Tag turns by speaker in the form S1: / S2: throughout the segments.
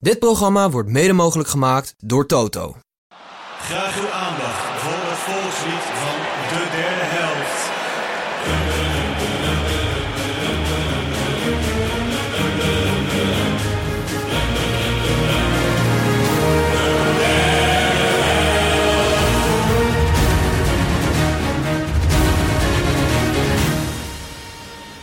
S1: Dit programma wordt mede mogelijk gemaakt door Toto.
S2: Graag uw aandacht voor het volkslied van de derde helft.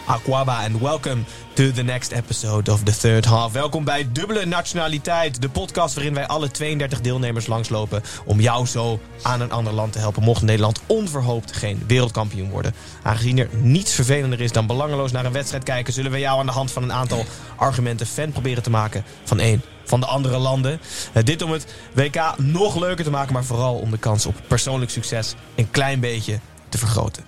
S3: Aquaba and welcome to the next episode of the third half. Welkom bij Dubbele Nationaliteit, de podcast waarin wij alle 32 deelnemers langslopen om jou zo aan een ander land te helpen. Mocht Nederland onverhoopt geen wereldkampioen worden. Aangezien er niets vervelender is dan belangeloos naar een wedstrijd kijken, zullen we jou aan de hand van een aantal argumenten fan proberen te maken van één van de andere landen. Eh, dit om het WK nog leuker te maken, maar vooral om de kans op persoonlijk succes een klein beetje te vergroten.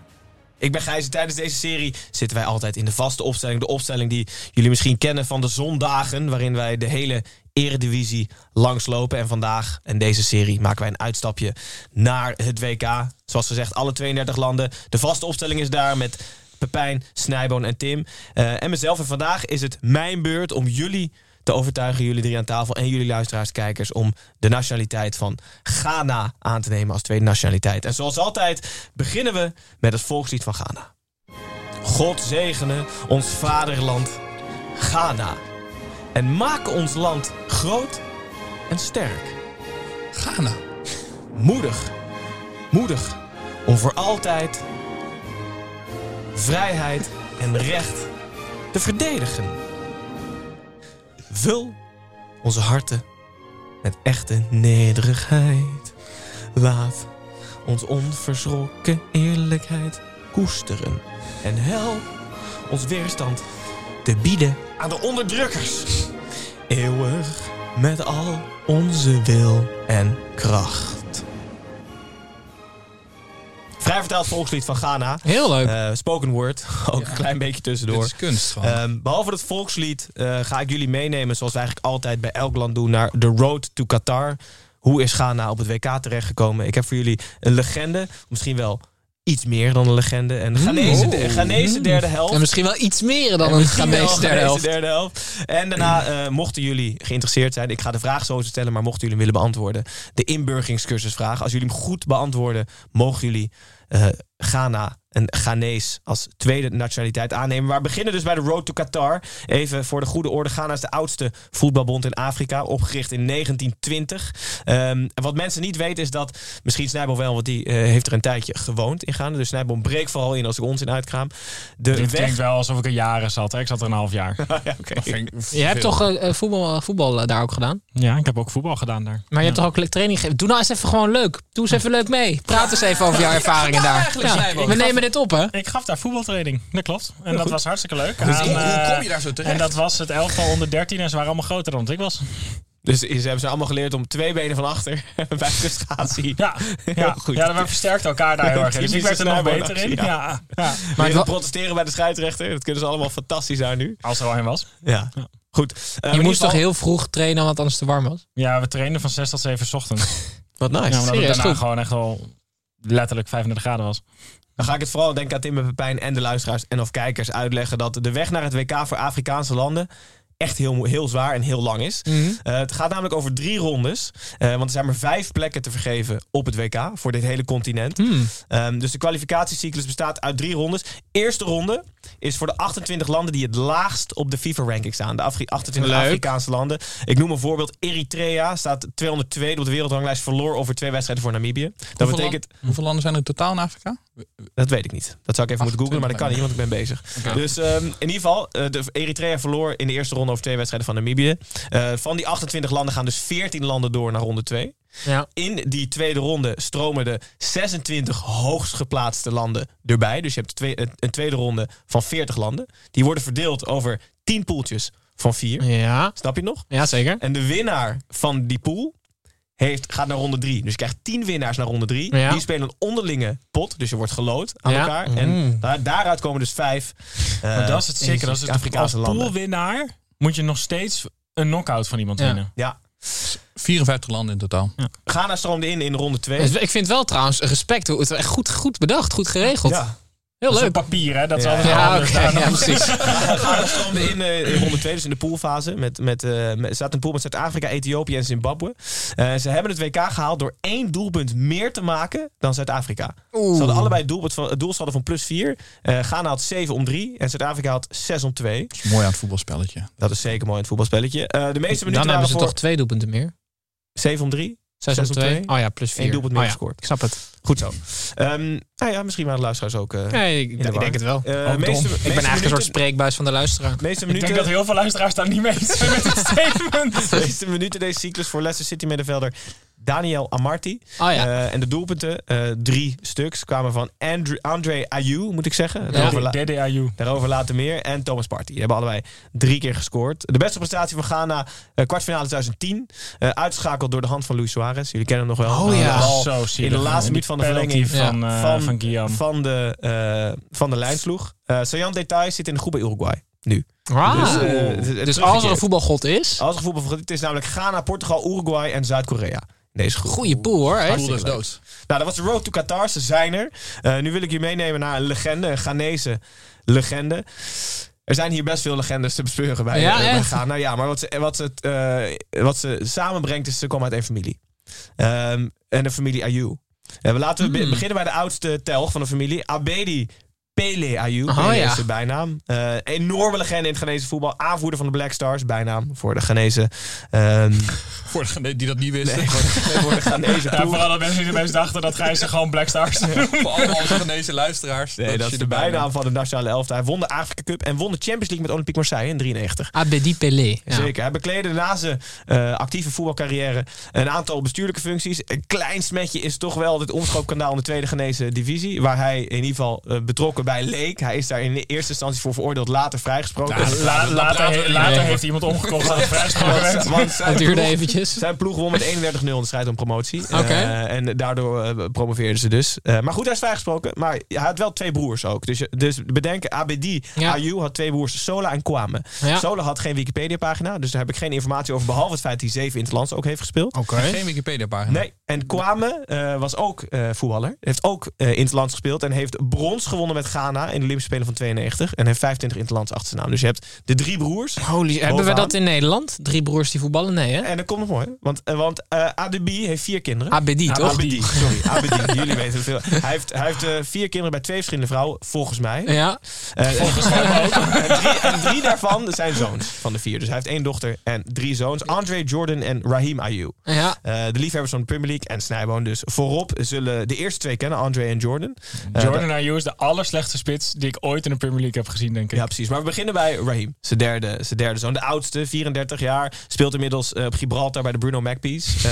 S3: Ik ben Gijs en tijdens deze serie zitten wij altijd in de vaste opstelling. De opstelling die jullie misschien kennen van de zondagen, waarin wij de hele eredivisie langslopen. En vandaag in deze serie maken wij een uitstapje naar het WK. Zoals gezegd, alle 32 landen. De vaste opstelling is daar met Pepijn, Snijboon en Tim. Eh, en mezelf. En vandaag is het mijn beurt om jullie te overtuigen, jullie drie aan tafel en jullie luisteraars, kijkers, om de nationaliteit van Ghana aan te nemen als tweede nationaliteit. En zoals altijd beginnen we met het volkslied van Ghana. God zegene ons vaderland, Ghana. En maak ons land groot en sterk.
S4: Ghana.
S3: Moedig, moedig om voor altijd vrijheid en recht te verdedigen. Vul onze harten met echte nederigheid. Laat ons onverschrokken eerlijkheid koesteren. En help ons weerstand te bieden aan de onderdrukkers. Eeuwig met al onze wil en kracht. Vrij vertaald volkslied van Ghana.
S4: Heel leuk.
S3: Eh, spoken word, ook een klein beetje tussendoor.
S4: Dit is kunst gewoon.
S3: Ehm, behalve het volkslied eh, ga ik jullie meenemen, zoals we eigenlijk altijd bij elk land doen, naar The Road to Qatar. Hoe is Ghana op het WK terechtgekomen? Ik heb voor jullie een legende, misschien wel iets meer dan een legende. Een Ghanese,
S4: Oh.
S3: de- Ghanese derde helft.
S4: en misschien wel iets meer dan
S3: En
S4: een
S3: misschien wel
S4: Ghanese derde helft. Hmm.
S3: derde helft. En daarna, eh, mochten jullie geïnteresseerd zijn, ik ga de vraag zo stellen, maar mochten jullie hem willen beantwoorden, de inburgingscursusvraag. Als jullie hem goed beantwoorden, mogen jullie eh, Ghana een Ghanees als tweede nationaliteit aannemen. Maar we beginnen dus bij de Road to Qatar. Even voor de goede orde. Ghana is de oudste voetbalbond in Afrika, opgericht in 1920. Ehm, en wat mensen niet weten is dat, misschien Snijbel wel, want die eh, heeft er een tijdje gewoond in Ghana. Dus Snijbel breekt vooral in als ik ons in uitkraam. De
S5: Dit
S3: weg...
S5: klinkt wel alsof ik er jaren zat. Hè? Ik zat er een half jaar.
S3: Ja, oké.
S4: Je hebt toch eh, eh, voetbal, voetbal eh, daar ook gedaan?
S5: Ja, ik heb ook voetbal gedaan daar.
S4: Maar je hebt toch ook le- training gegeven? Doe nou eens even gewoon leuk. Doe eens even leuk mee. Praat eens even over jouw ervaringen daar.
S3: eigenlijk,
S4: Ja,
S3: zei je ook.
S4: We nemen dit op, hè?
S5: Ik gaf daar voetbaltraining. Dat klopt. En dat was hartstikke leuk.
S4: Dus
S5: Aan,
S4: hoe- hoe
S5: eh,
S4: kom je daar zo terecht?
S5: En dat was het elftal onder 13 en ze waren allemaal groter dan ik was.
S3: Dus ze hebben ze allemaal geleerd om twee benen van achter bij frustratie.
S5: Ja, ja.
S3: goed.
S5: ja we versterkten elkaar daar heel erg in. Dus ik werd er nog
S3: Typische
S5: beter in.
S3: snijboonactie,
S5: Ja. Ja.
S3: Maar
S4: het wa-
S3: protesteren bij de scheidsrechter, dat kunnen ze allemaal fantastisch aan nu.
S5: Als er al een was.
S3: Ja. Goed. Eh,
S4: Je
S3: in ieder
S4: moest toch
S3: geval-
S4: heel vroeg trainen, want anders te warm was?
S5: Ja, we trainden van 6 tot 7 's ochtends.
S3: Wat nice.
S5: Ja, omdat het
S4: serieus,
S5: daarna
S4: goed.
S5: gewoon echt wel letterlijk 35 graden was.
S3: Dan ga ik het vooral, denk ik aan Tim en Pepijn en de luisteraars en of kijkers uitleggen dat de weg naar het WK voor Afrikaanse landen echt heel, mo- heel zwaar en heel lang is.
S4: Mhm.
S3: Eh, het gaat namelijk over drie rondes, eh, want er zijn maar vijf plekken te vergeven op het WK voor dit hele continent.
S4: Mhm.
S3: Ehm, dus de kwalificatiecyclus bestaat uit drie rondes. Eerste ronde is voor de 28 landen die het laagst op de FIFA-ranking staan. De Afri- 28
S4: Leuk.
S3: Afrikaanse landen. Ik noem een voorbeeld. Eritrea staat 202 op de wereldranglijst. Verloor over twee wedstrijden voor Namibië. Dat
S4: Hoeveel
S3: betekent...
S4: land- hoeveel landen zijn er in totaal in Afrika?
S3: Dat weet ik niet. Dat zou ik even moeten googlen, maar dat kan niet, want ik ben bezig. Dus ehm, in ieder geval, eh, de Eritrea verloor in de eerste ronde over twee wedstrijden van Namibië. Eh, van die 28 landen gaan dus 14 landen door naar ronde 2.
S4: Ja.
S3: In die tweede ronde stromen de 26 hoogst geplaatste landen erbij. Dus je hebt twee- een- een tweede ronde van 40 landen. Die worden verdeeld over 10 poeltjes van vier.
S4: Ja,
S3: Snap je het nog?
S4: ja zeker.
S3: En de winnaar van die pool heeft, gaat naar ronde 3. Dus je krijgt 10 winnaars naar ronde 3.
S4: Ja.
S3: Die spelen een onderlinge pot. Dus je wordt geloot aan
S4: Ja.
S3: elkaar. En daar, daaruit komen dus vijf. eh,
S5: Mm. Maar dat is het zeker. Dat is het
S3: Afrikaanse
S5: als
S3: landen.
S5: poolwinnaar moet je nog steeds een knockout van iemand
S6: Ja.
S5: winnen.
S3: Ja.
S6: 54 landen in totaal.
S3: Ghana stroomde in in ronde 2.
S4: Dus ik vind wel trouwens respect. hoe- Het is echt goed, goed bedacht, goed geregeld.
S3: Ja.
S4: Heel
S5: Dat is
S4: leuk.
S5: op papier, hè? Dat is
S3: Ja.
S5: altijd wel
S4: Ja,
S5: anders.
S4: oké,
S5: Daar
S4: ja,
S5: nog-
S4: precies.
S3: Ghana stroomde in eh, in ronde 2, dus in de poolfase. Met, met, eh, met, staat een pool met Zuid-Afrika, Ethiopië en Zimbabwe. Eh, ze hebben het WK gehaald door één doelpunt meer te maken dan Zuid-Afrika. Ze hadden allebei het doelpunt van, het doelsaldo van plus 4. Ghana had 7 om 3 en Zuid-Afrika had 6 om 2.
S6: Dat is mooi aan het voetbalspelletje.
S3: Dat is zeker mooi in het voetbalspelletje. Eh, de meeste minuten
S4: Dan hebben
S3: waren
S4: ze
S3: voor
S4: toch twee doelpunten meer.
S3: 7 om 3.
S4: 6 om
S3: Zes om twee.
S4: 2. Oh ja, plus 4.
S3: Eén doelpunt meer
S4: oh ja.
S3: gescoord.
S4: Ik snap het.
S3: Goed zo. Ehm nou ja, misschien waren de luisteraars ook... eh
S4: Nee, ik,
S3: de
S4: ik
S3: war.
S4: denk het wel.
S3: eh,
S5: Ook dom. Ik ben
S4: ik ben eigenlijk een soort spreekbuis van de luisteraar.
S3: meeste
S5: Ik denk
S3: minuten,
S5: dat heel veel luisteraars daar niet mee eens zijn met dit statement.
S3: meeste minuten deze cyclus voor Leicester City middenvelder Daniel Amarty.
S4: Oh ja.
S3: Eh, en de doelpunten, eh, drie stuks, kwamen van Andre, Andre Ayew, moet ik zeggen. Daarover, la-
S5: DDAU.
S3: daarover later meer. En Thomas Partey. Die hebben allebei drie keer gescoord. De beste prestatie van Ghana, eh, kwartfinale 2010. Eh uitschakeld door de hand van Luis Suarez. Jullie kennen hem nog wel. Nou,
S4: Oh ja.
S3: De bal
S5: Zo
S3: in
S5: zielig.
S3: de laatste
S5: Die
S3: minuut van de
S5: penalty
S3: verlenging.
S5: van,
S3: Ja.
S5: eh,
S3: Van-
S5: van, Guillaume.
S3: van de, eh, van de lijn sloeg. Eh Sajan Detail zit in de groep bij Uruguay. Nu.
S4: Ah.
S3: Dus,
S4: Dus,
S3: eh, het- het
S4: als er
S3: teruggekeerd.
S4: een voetbalgod is,
S3: Als er voetbal vergeten, het is namelijk Ghana, Portugal, Uruguay en Zuid-Korea. In Deze groep.
S4: goede pool hoor. hè?
S6: Poel is
S3: leuk.
S6: dood.
S3: Nou, dat was de Road to Qatar. Ze zijn er. Eh, nu wil ik je meenemen naar een legende, een Ghanese legende. Er zijn hier best veel legendes te bespeuren bij,
S4: Ja,
S3: eh, bij
S4: echt?
S3: Ghana. Ja, maar wat ze, wat, ze, het, eh, wat ze samenbrengt is ze komen uit één familie. Ehm, en de familie Ayew. Eh, we laten we
S4: Hmm.
S3: be- beginnen bij de oudste telg van de familie. Abedi Pele Ayew.
S4: Oh,
S3: Pele
S4: ja.
S3: is zijn bijnaam. Eh, enorme legende in het Ghanese voetbal. Aanvoerder van de Black Stars. Bijnaam voor de Ghanese. ehm,
S6: Voor degene die dat niet wisten.
S3: nee, voor, voor de Ghanese
S5: Ja,
S3: ploeg.
S5: vooral dat mensen die opeens dachten dat Gijs ze gewoon Black Stars
S6: Voor alle Algerijnse luisteraars.
S3: Nee, dat, is de bijnaam van de nationale elftal. Hij won de Afrika Cup en won de Champions League met Olympique Marseille in 93.
S4: Abedi Pelé. Ja.
S3: Zeker. Hij bekleedde na zijn eh, actieve voetbalcarrière een aantal bestuurlijke functies. Een klein smetje is toch wel dit omschkoopkanaal in de tweede Ghanese divisie. Waar hij in ieder geval eh, betrokken bij leek. Hij is daar in de eerste instantie voor veroordeeld, later vrijgesproken.
S5: La, later
S6: praten we
S5: he-
S6: niet
S5: later
S4: over.
S5: heeft iemand omgekocht aan het vrijspraak
S3: Want-
S5: werd.
S3: want zijn
S4: Het duurde
S3: ploeg-
S4: eventjes.
S3: Zijn ploeg won met 31-0 in de strijd om promotie.
S4: Oké.
S3: Eh, en daardoor eh, promoveerden ze dus. Eh, maar goed, hij is vrijgesproken. Maar hij had wel twee broers ook. Dus, je- dus bedenken, ABD,
S4: Ja.
S3: Ayu had twee broers, Sola en Kwame.
S4: Ja.
S3: Sola had geen Wikipedia-pagina. Dus daar heb ik geen informatie over. Behalve het feit dat hij zeven interlands ook heeft gespeeld.
S4: Oké.
S6: Geen Wikipedia-pagina.
S3: Nee, en Kwame eh, was ook eh, voetballer. Heeft ook eh interlands gespeeld. En heeft brons gewonnen met Ghana in de Olympische Spelen van 92. En heeft 25 interlands achter zijn naam. Dus je hebt de drie broers.
S4: Holy, hebben we
S3: Bovenaan.
S4: dat in Nederland? Drie broers die voetballen? Nee, hè?
S3: En dat komt nog mooi. Want, eh, want eh, Adebi heeft vier kinderen.
S4: Abedi, toch?
S3: Abedi, sorry. Abedi, jullie weten het veel. Hij heeft, hij heeft eh, vier kinderen bij twee verschillende vrouwen, volgens mij.
S4: Ja.
S3: volgens mij ook. En drie, en drie daarvan zijn zoons van de vier. Dus hij heeft één dochter en drie zoons. Andre Jordan en Raheem Ayew.
S4: Ja.
S3: Eh, de liefhebbers van de Premier League en Snijboon dus voorop zullen de eerste twee kennen, Andre en Jordan. Eh,
S5: Jordan Ayew is de allerslechtste spits die ik ooit in de Premier League heb gezien, denk ik.
S3: Ja, precies. Maar we beginnen bij Raheem, zijn derde, zijn derde zoon. De oudste, 34 jaar, speelt inmiddels eh, op Gibraltar bij de Bruno Magpies. Eh,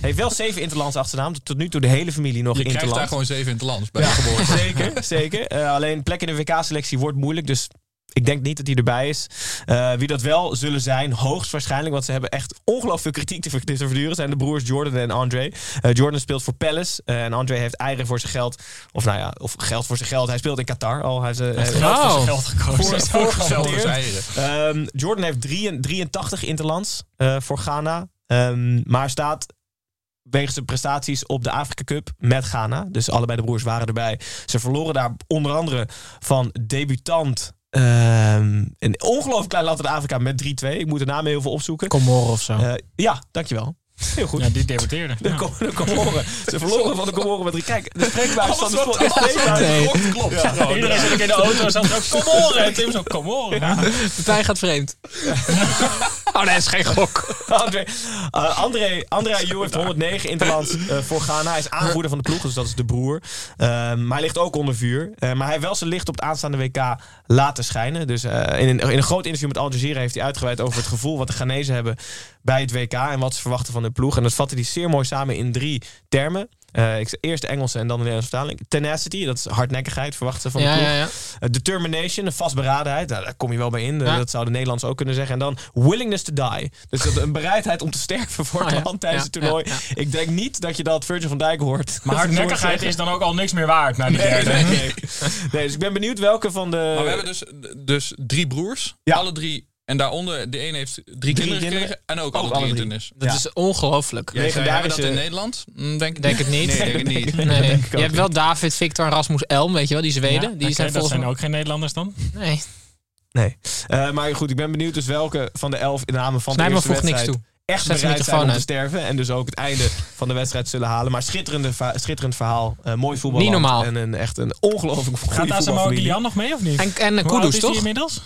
S3: heeft wel zeven interlands achternaam. Tot nu toe de hele familie nog
S6: Je krijgt daar
S3: interland.
S6: gewoon zeven in het land bij je geboorte.
S3: Zeker, zeker. Eh, alleen plek in de WK-selectie wordt moeilijk, dus ik denk niet dat hij erbij is. Eh, wie dat wel zullen zijn, hoogstwaarschijnlijk, want ze hebben echt ongelooflijk veel kritiek te ver- te verduren, zijn de broers Jordan en Andre. Eh, Jordan speelt voor Palace eh, en Andre heeft eieren voor zijn geld, of nou ja, of geld voor zijn geld. Hij speelt in Qatar al. Hij is, eh, hij-
S5: Geld voor zijn
S4: Oh.
S5: geld
S3: Voor-
S5: gekozen.
S3: voor-
S6: Zelfs als
S3: Geteerd.
S6: eieren.
S3: Ehm, Jordan heeft 83 83 interlands eh, voor Ghana. Ehm, maar staat wegens zijn prestaties op de Afrika Cup met Ghana. Dus allebei de broers waren erbij. Ze verloren daar onder andere van debutant. ehm, een ongelooflijk klein land in Afrika met 3-2. Ik moet de namen heel veel opzoeken.
S4: Comoren of zo.
S3: Eh, ja, dankjewel. Heel goed.
S5: Ja, die debuteerde.
S3: De,
S5: Ja.
S3: Kom- de Comoren. Ze verloren van de Comoren met drie. Kijk, de spreekbuis van de
S6: Alles wat- alles wat
S3: spreekbuis-
S4: Nee.
S6: klopt, Klopt. gewoon.
S5: Iedereen zit ook in de auto en zat zo, kom horen. En Tim zo, kom horen.
S4: Partij gaat vreemd. Oh, nee, is geen gok.
S3: André, eh, André, André Ayew heeft 109 interlands eh, voor Ghana. Hij is aanvoerder van de ploeg, dus dat is de broer. Ehm, maar hij ligt ook onder vuur. Eh, maar hij heeft wel zijn licht op het aanstaande WK laten schijnen. Dus eh, in, een, in een groot interview met Al Jazeera heeft hij uitgeweid over het gevoel wat de Ghanezen hebben bij het WK en wat ze verwachten van hun ploeg. En dat vatte hij zeer mooi samen in drie termen. Eh, Eh, ik, eerst de Engelse en dan de Nederlandse vertaling. Tenacity, dat is hardnekkigheid, verwachten van de
S4: Ja,
S3: ploeg.
S4: ja, ja.
S3: Eh, determination, de vastberadenheid, nou, daar kom je wel bij in. Eh,
S4: Ja.
S3: Dat zou de Nederlands ook kunnen zeggen. En dan willingness to die. Dus dat, een bereidheid om te sterven voor
S4: Oh,
S3: het
S4: ja.
S3: land tijdens
S4: Ja,
S3: het toernooi.
S4: ja,
S3: Ik denk niet dat je dat Virgil van Dijk hoort.
S5: Maar hardnekkigheid is dan ook al niks meer waard. Na die derde.
S3: Nee, nee. nee, dus ik ben benieuwd welke van de...
S6: Maar we hebben dus, dus drie broers.
S3: Ja.
S6: Alle drie. En daaronder, de een heeft drie, kinderen
S3: kinderen.
S6: gekregen. En ook, alle
S3: alle
S6: drie
S3: drie.
S6: intennis.
S4: Dat
S3: Ja.
S4: is ongelooflijk.
S6: Jij zei, hebben we dat in
S3: Legendarische-
S6: Nederland? Mm, Denk, ik
S4: Denk het niet.
S6: Nee, denk het niet.
S4: Nee.
S3: denk ik
S4: Je
S3: ook
S4: hebt wel David, Victor en Rasmus Elm, weet je wel, die
S5: Ja,
S4: Zweden. die
S5: oké,
S4: zijn
S5: dat
S4: volgens
S5: zijn
S4: mij...
S5: ook geen Nederlanders dan.
S4: Nee,
S3: Nee. Eh, maar goed, ik ben benieuwd dus welke van de elf in namen van
S4: snij
S3: de
S4: me
S3: eerste
S4: voegt niks
S3: wedstrijd
S4: toe.
S3: echt
S4: Zet de
S3: bereid zijn
S4: microfoon
S3: om te
S4: uit.
S3: sterven. En dus ook het einde van de wedstrijd zullen halen. Maar schitterende va- schitterend verhaal. eh, mooi voetbal.
S4: Niet normaal.
S3: En een, echt een ongelooflijk goede
S5: Gaat Asamoah
S3: voetbalfamilie.
S5: Gyan nog mee of niet?
S4: En, en
S5: Hoe oud
S4: Kudus,
S5: is die
S4: toch?
S5: inmiddels?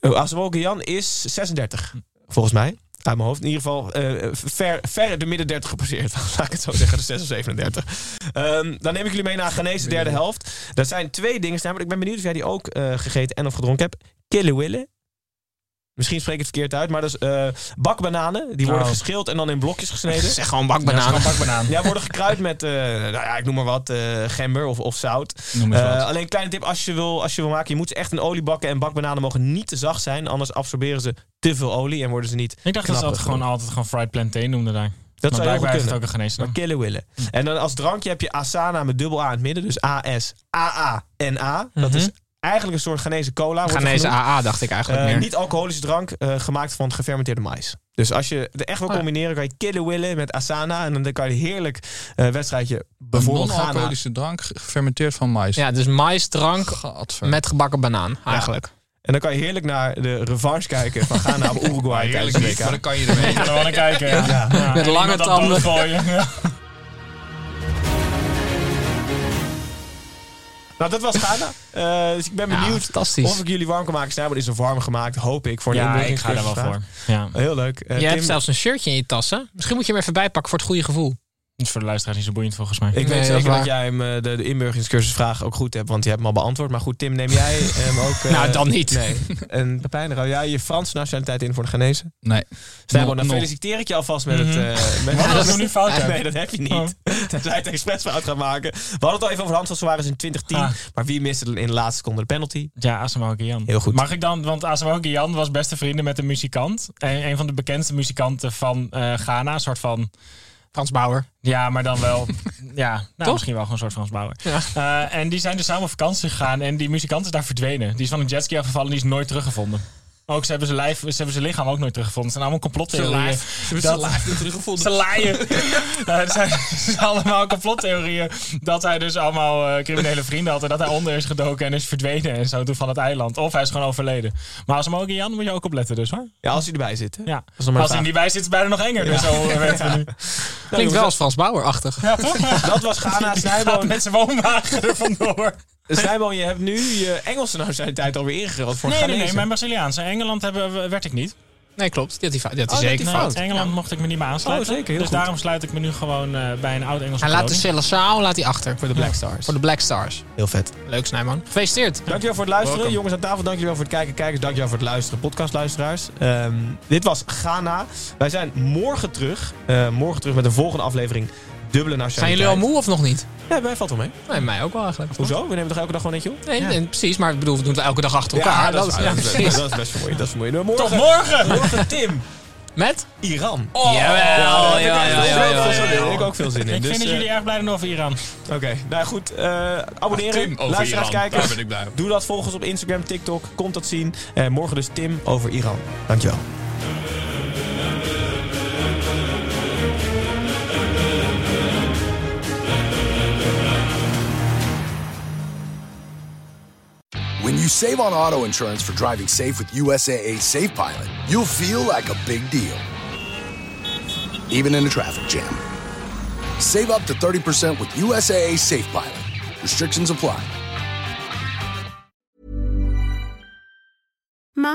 S3: Oh, Asamoah Gyan is 36, volgens mij. Uit mijn hoofd. In ieder geval eh, ver, ver de midden 30 gepasseerd. Laat ik het zo zeggen, de 6 of 37. Ehm, dan neem ik jullie mee naar Ghanese derde helft. Dat zijn twee dingen. Namelijk, ik ben benieuwd of jij die ook eh, gegeten en of gedronken hebt. Killewille. Misschien spreek ik het verkeerd uit, maar dat is eh, bakbananen. Die worden
S5: Oh.
S3: geschild en dan in blokjes gesneden.
S4: Nou. Zeg gewoon
S5: Ja,
S4: bakbananen.
S5: is gewoon bakbanaan.
S3: Ja, worden gekruid met, eh, nou ja, ik noem maar wat, eh, gember of, of zout.
S5: Noem eens
S3: Eh,
S5: wat.
S3: alleen kleine tip, als je, wil, als je wil maken, je moet ze echt in olie bakken. En bakbananen mogen niet te zacht zijn, anders absorberen ze te veel olie en worden ze niet...
S5: Ik dacht dat ze
S3: knapper.
S5: altijd gewoon, altijd gewoon fried plantain noemden daar.
S3: Dat zou heel
S5: maar
S3: goed
S5: blijkbaar heeft
S3: kunnen.
S5: het ook een Ghanese
S3: Maar
S5: naam.
S3: killen willen. En dan als drankje heb je Asana met dubbel A in het midden. Dus A-S-A-A-N-A. Dat
S4: Mhm.
S3: is eigenlijk een soort Ghanese cola. wordt het
S4: Ghanese
S3: genoemd.
S4: AA, dacht ik eigenlijk
S3: Eh,
S4: meer.
S3: niet alcoholische drank, eh, gemaakt van gefermenteerde mais. Dus als je het echt wil
S4: Oh ja.
S3: combineren, kan je killen willen met Asana. En dan kan je heerlijk eh, wedstrijdje, bijvoorbeeld Ghana,
S6: Non-alcoholische drank, gefermenteerd van mais.
S4: Ja, dus maïsdrank
S6: Gadver.
S4: met gebakken banaan, eigenlijk.
S3: En dan kan je heerlijk naar de revanche kijken van Ghana op Uruguay tijdens
S6: Eerlijk
S3: de
S6: niet, maar
S3: WK.
S6: dan kan je ermee.
S5: Ik ga er wel naar kijken. Ja. Ja. En
S4: lange
S5: iemand dat
S4: tanden.
S5: doodgooien. Ja.
S3: Nou, dat was Ghana. Eh, dus ik ben
S4: Ja,
S3: benieuwd
S4: fantastisch.
S3: of ik eh, jullie warm kan maken. Snijboord is er warm gemaakt, hoop ik, voor een
S5: Ja, ik ga
S3: inbrengingsprijs
S5: daar wel voor.
S3: vandaag.
S5: Ja.
S3: Heel leuk. Eh,
S4: Jij
S3: Tim,
S4: hebt zelfs een shirtje in je tas, hè? Misschien moet je hem even bijpakken voor het goede gevoel.
S5: Dat is voor de luisteraars niet zo boeiend volgens mij.
S3: Ik
S4: Nee,
S3: weet
S4: dat is
S3: zeker dat
S4: waar.
S3: jij hem eh, de, de inburgingscursusvraag ook goed hebt, want je hebt hem al beantwoord. Maar goed, Tim, neem jij hem ook... eh,
S4: nou, dan niet.
S3: Nee. En Pepijn, rouw jij je Franse nationaliteit in voor de Ghanese?
S6: Nee.
S3: Snijboord, dan
S6: Nul.
S3: feliciteer ik je alvast met het...
S5: Mhm.
S3: eh, met-
S5: Wat als we nu fout
S3: Nee,
S5: hebben? Oh.
S3: dat heb je niet. Tenzij je het expres fout gaat maken. We hadden het al even over Hans van Suarez dus in 2010.
S5: Ah.
S3: Maar wie miste in de laatste seconde de penalty?
S5: Ja, Asamoah Gyan.
S3: Heel goed.
S5: Mag ik dan, want Asamoah Gyan was beste vrienden met een muzikant. En een van de bekendste muzikanten van eh, Ghana. Een soort van,
S4: Frans Bauer.
S5: ja, maar dan wel, ja, nou,
S4: Toch?
S5: misschien wel gewoon een soort Frans Bauer.
S4: Ja.
S5: Eh, en die zijn dus samen op vakantie gegaan en die muzikant is daar verdwenen. Die is van een jetski afgevallen en die is nooit teruggevonden. Ook ze hebben zijn, lijf, ze hebben zijn lichaam ook nooit teruggevonden. Het zijn allemaal complottheorieën.
S6: Ze
S5: Dat-
S6: hebben teruggevonden.
S5: Ze laaien. nou, het zijn dus allemaal complottheorieën. Dat hij dus allemaal eh, criminele vrienden had. En dat hij onder is gedoken en is verdwenen en zo toen van het eiland. Of hij is gewoon overleden. Maar als hem ook in Jan moet je ook opletten dus hoor.
S3: Ja, als hij erbij zit. hè?
S5: Ja.
S3: is nog maar
S5: Als
S3: de
S5: hij niet bij zit is het bijna nog enger. Dus zo eh, weten we nu.
S4: Klinkt wel als Frans Bauer-achtig.
S5: Ja toch?
S3: Dat was Ghana.
S5: Die gaat
S3: Snijboon,
S5: met zijn woonwagen er vandoor.
S3: Snijboon, je hebt nu je Engelse nationaliteit alweer ingeruild voor
S5: Nee, nee, nee.
S3: Ghanese.
S5: Mijn Braziliaanse. Engeland hebben, werd ik niet.
S4: Nee, klopt. Dit is
S3: Oh, dat
S4: zeker
S3: is
S4: fout.
S3: fout.
S5: Engeland mocht ik me niet meer aansluiten.
S3: Oh, zeker. Heel
S5: dus
S3: goed.
S5: daarom sluit ik me nu gewoon eh, bij een oud Engelse
S4: Hij laat de
S5: kolonie.
S4: Celassao laat hij achter. Voor de
S3: Black Stars.
S4: Voor de Black Stars.
S3: Heel vet.
S4: Leuk, Snijman. Gefeliciteerd.
S3: Dankjewel voor het luisteren.
S6: Welkom.
S3: Jongens aan tafel, dankjewel voor het kijken. Kijkers, dankjewel voor het luisteren. Podcastluisteraars. Ehm dit was Ghana. Wij zijn morgen terug. Eh, morgen terug met een volgende aflevering. Dubbele nationaliteit.
S4: Zijn jullie al moe of nog niet?
S3: Ja, wij valt wel mee.
S4: Nee, mij ook wel eigenlijk.
S3: Hoezo? We nemen toch elke dag gewoon netje op?
S4: Nee, nee, precies. Maar ik bedoel, we doen het elke dag achter elkaar.
S3: dat, is,
S4: ja,
S3: dat, is,
S4: precies.
S3: dat is best vermoeiend. Dat is vermoeiend. Maar Morgen,
S5: Tot morgen!
S3: morgen Tim,
S4: Met?
S3: Iran.
S4: Oh, jawel,
S3: daar
S4: ja,
S3: heb ik
S4: ja,
S3: echt
S4: ja,
S3: heel
S4: ja,
S3: veel
S4: ja,
S3: zin in.
S4: ja.
S3: Ik ook veel zin in.
S5: Ik
S3: Dus,
S5: vind dat
S3: eh,
S5: jullie erg blij zijn over Iran.
S3: Oké, nou goed. eh abonneren,
S6: Tim over
S3: luisteraars,
S6: Iran.
S3: kijkers.
S6: Daar ben ik blij om.
S3: Doe dat volgens op Instagram, TikTok. Komt dat zien. En morgen dus Tim over Iran. Dankjewel.
S7: When you save on auto insurance for driving safe with USAA Safe Pilot, you'll feel like a big deal. Even in a traffic jam. Save up to 30% with USAA Safe Pilot. Restrictions apply.
S8: Mom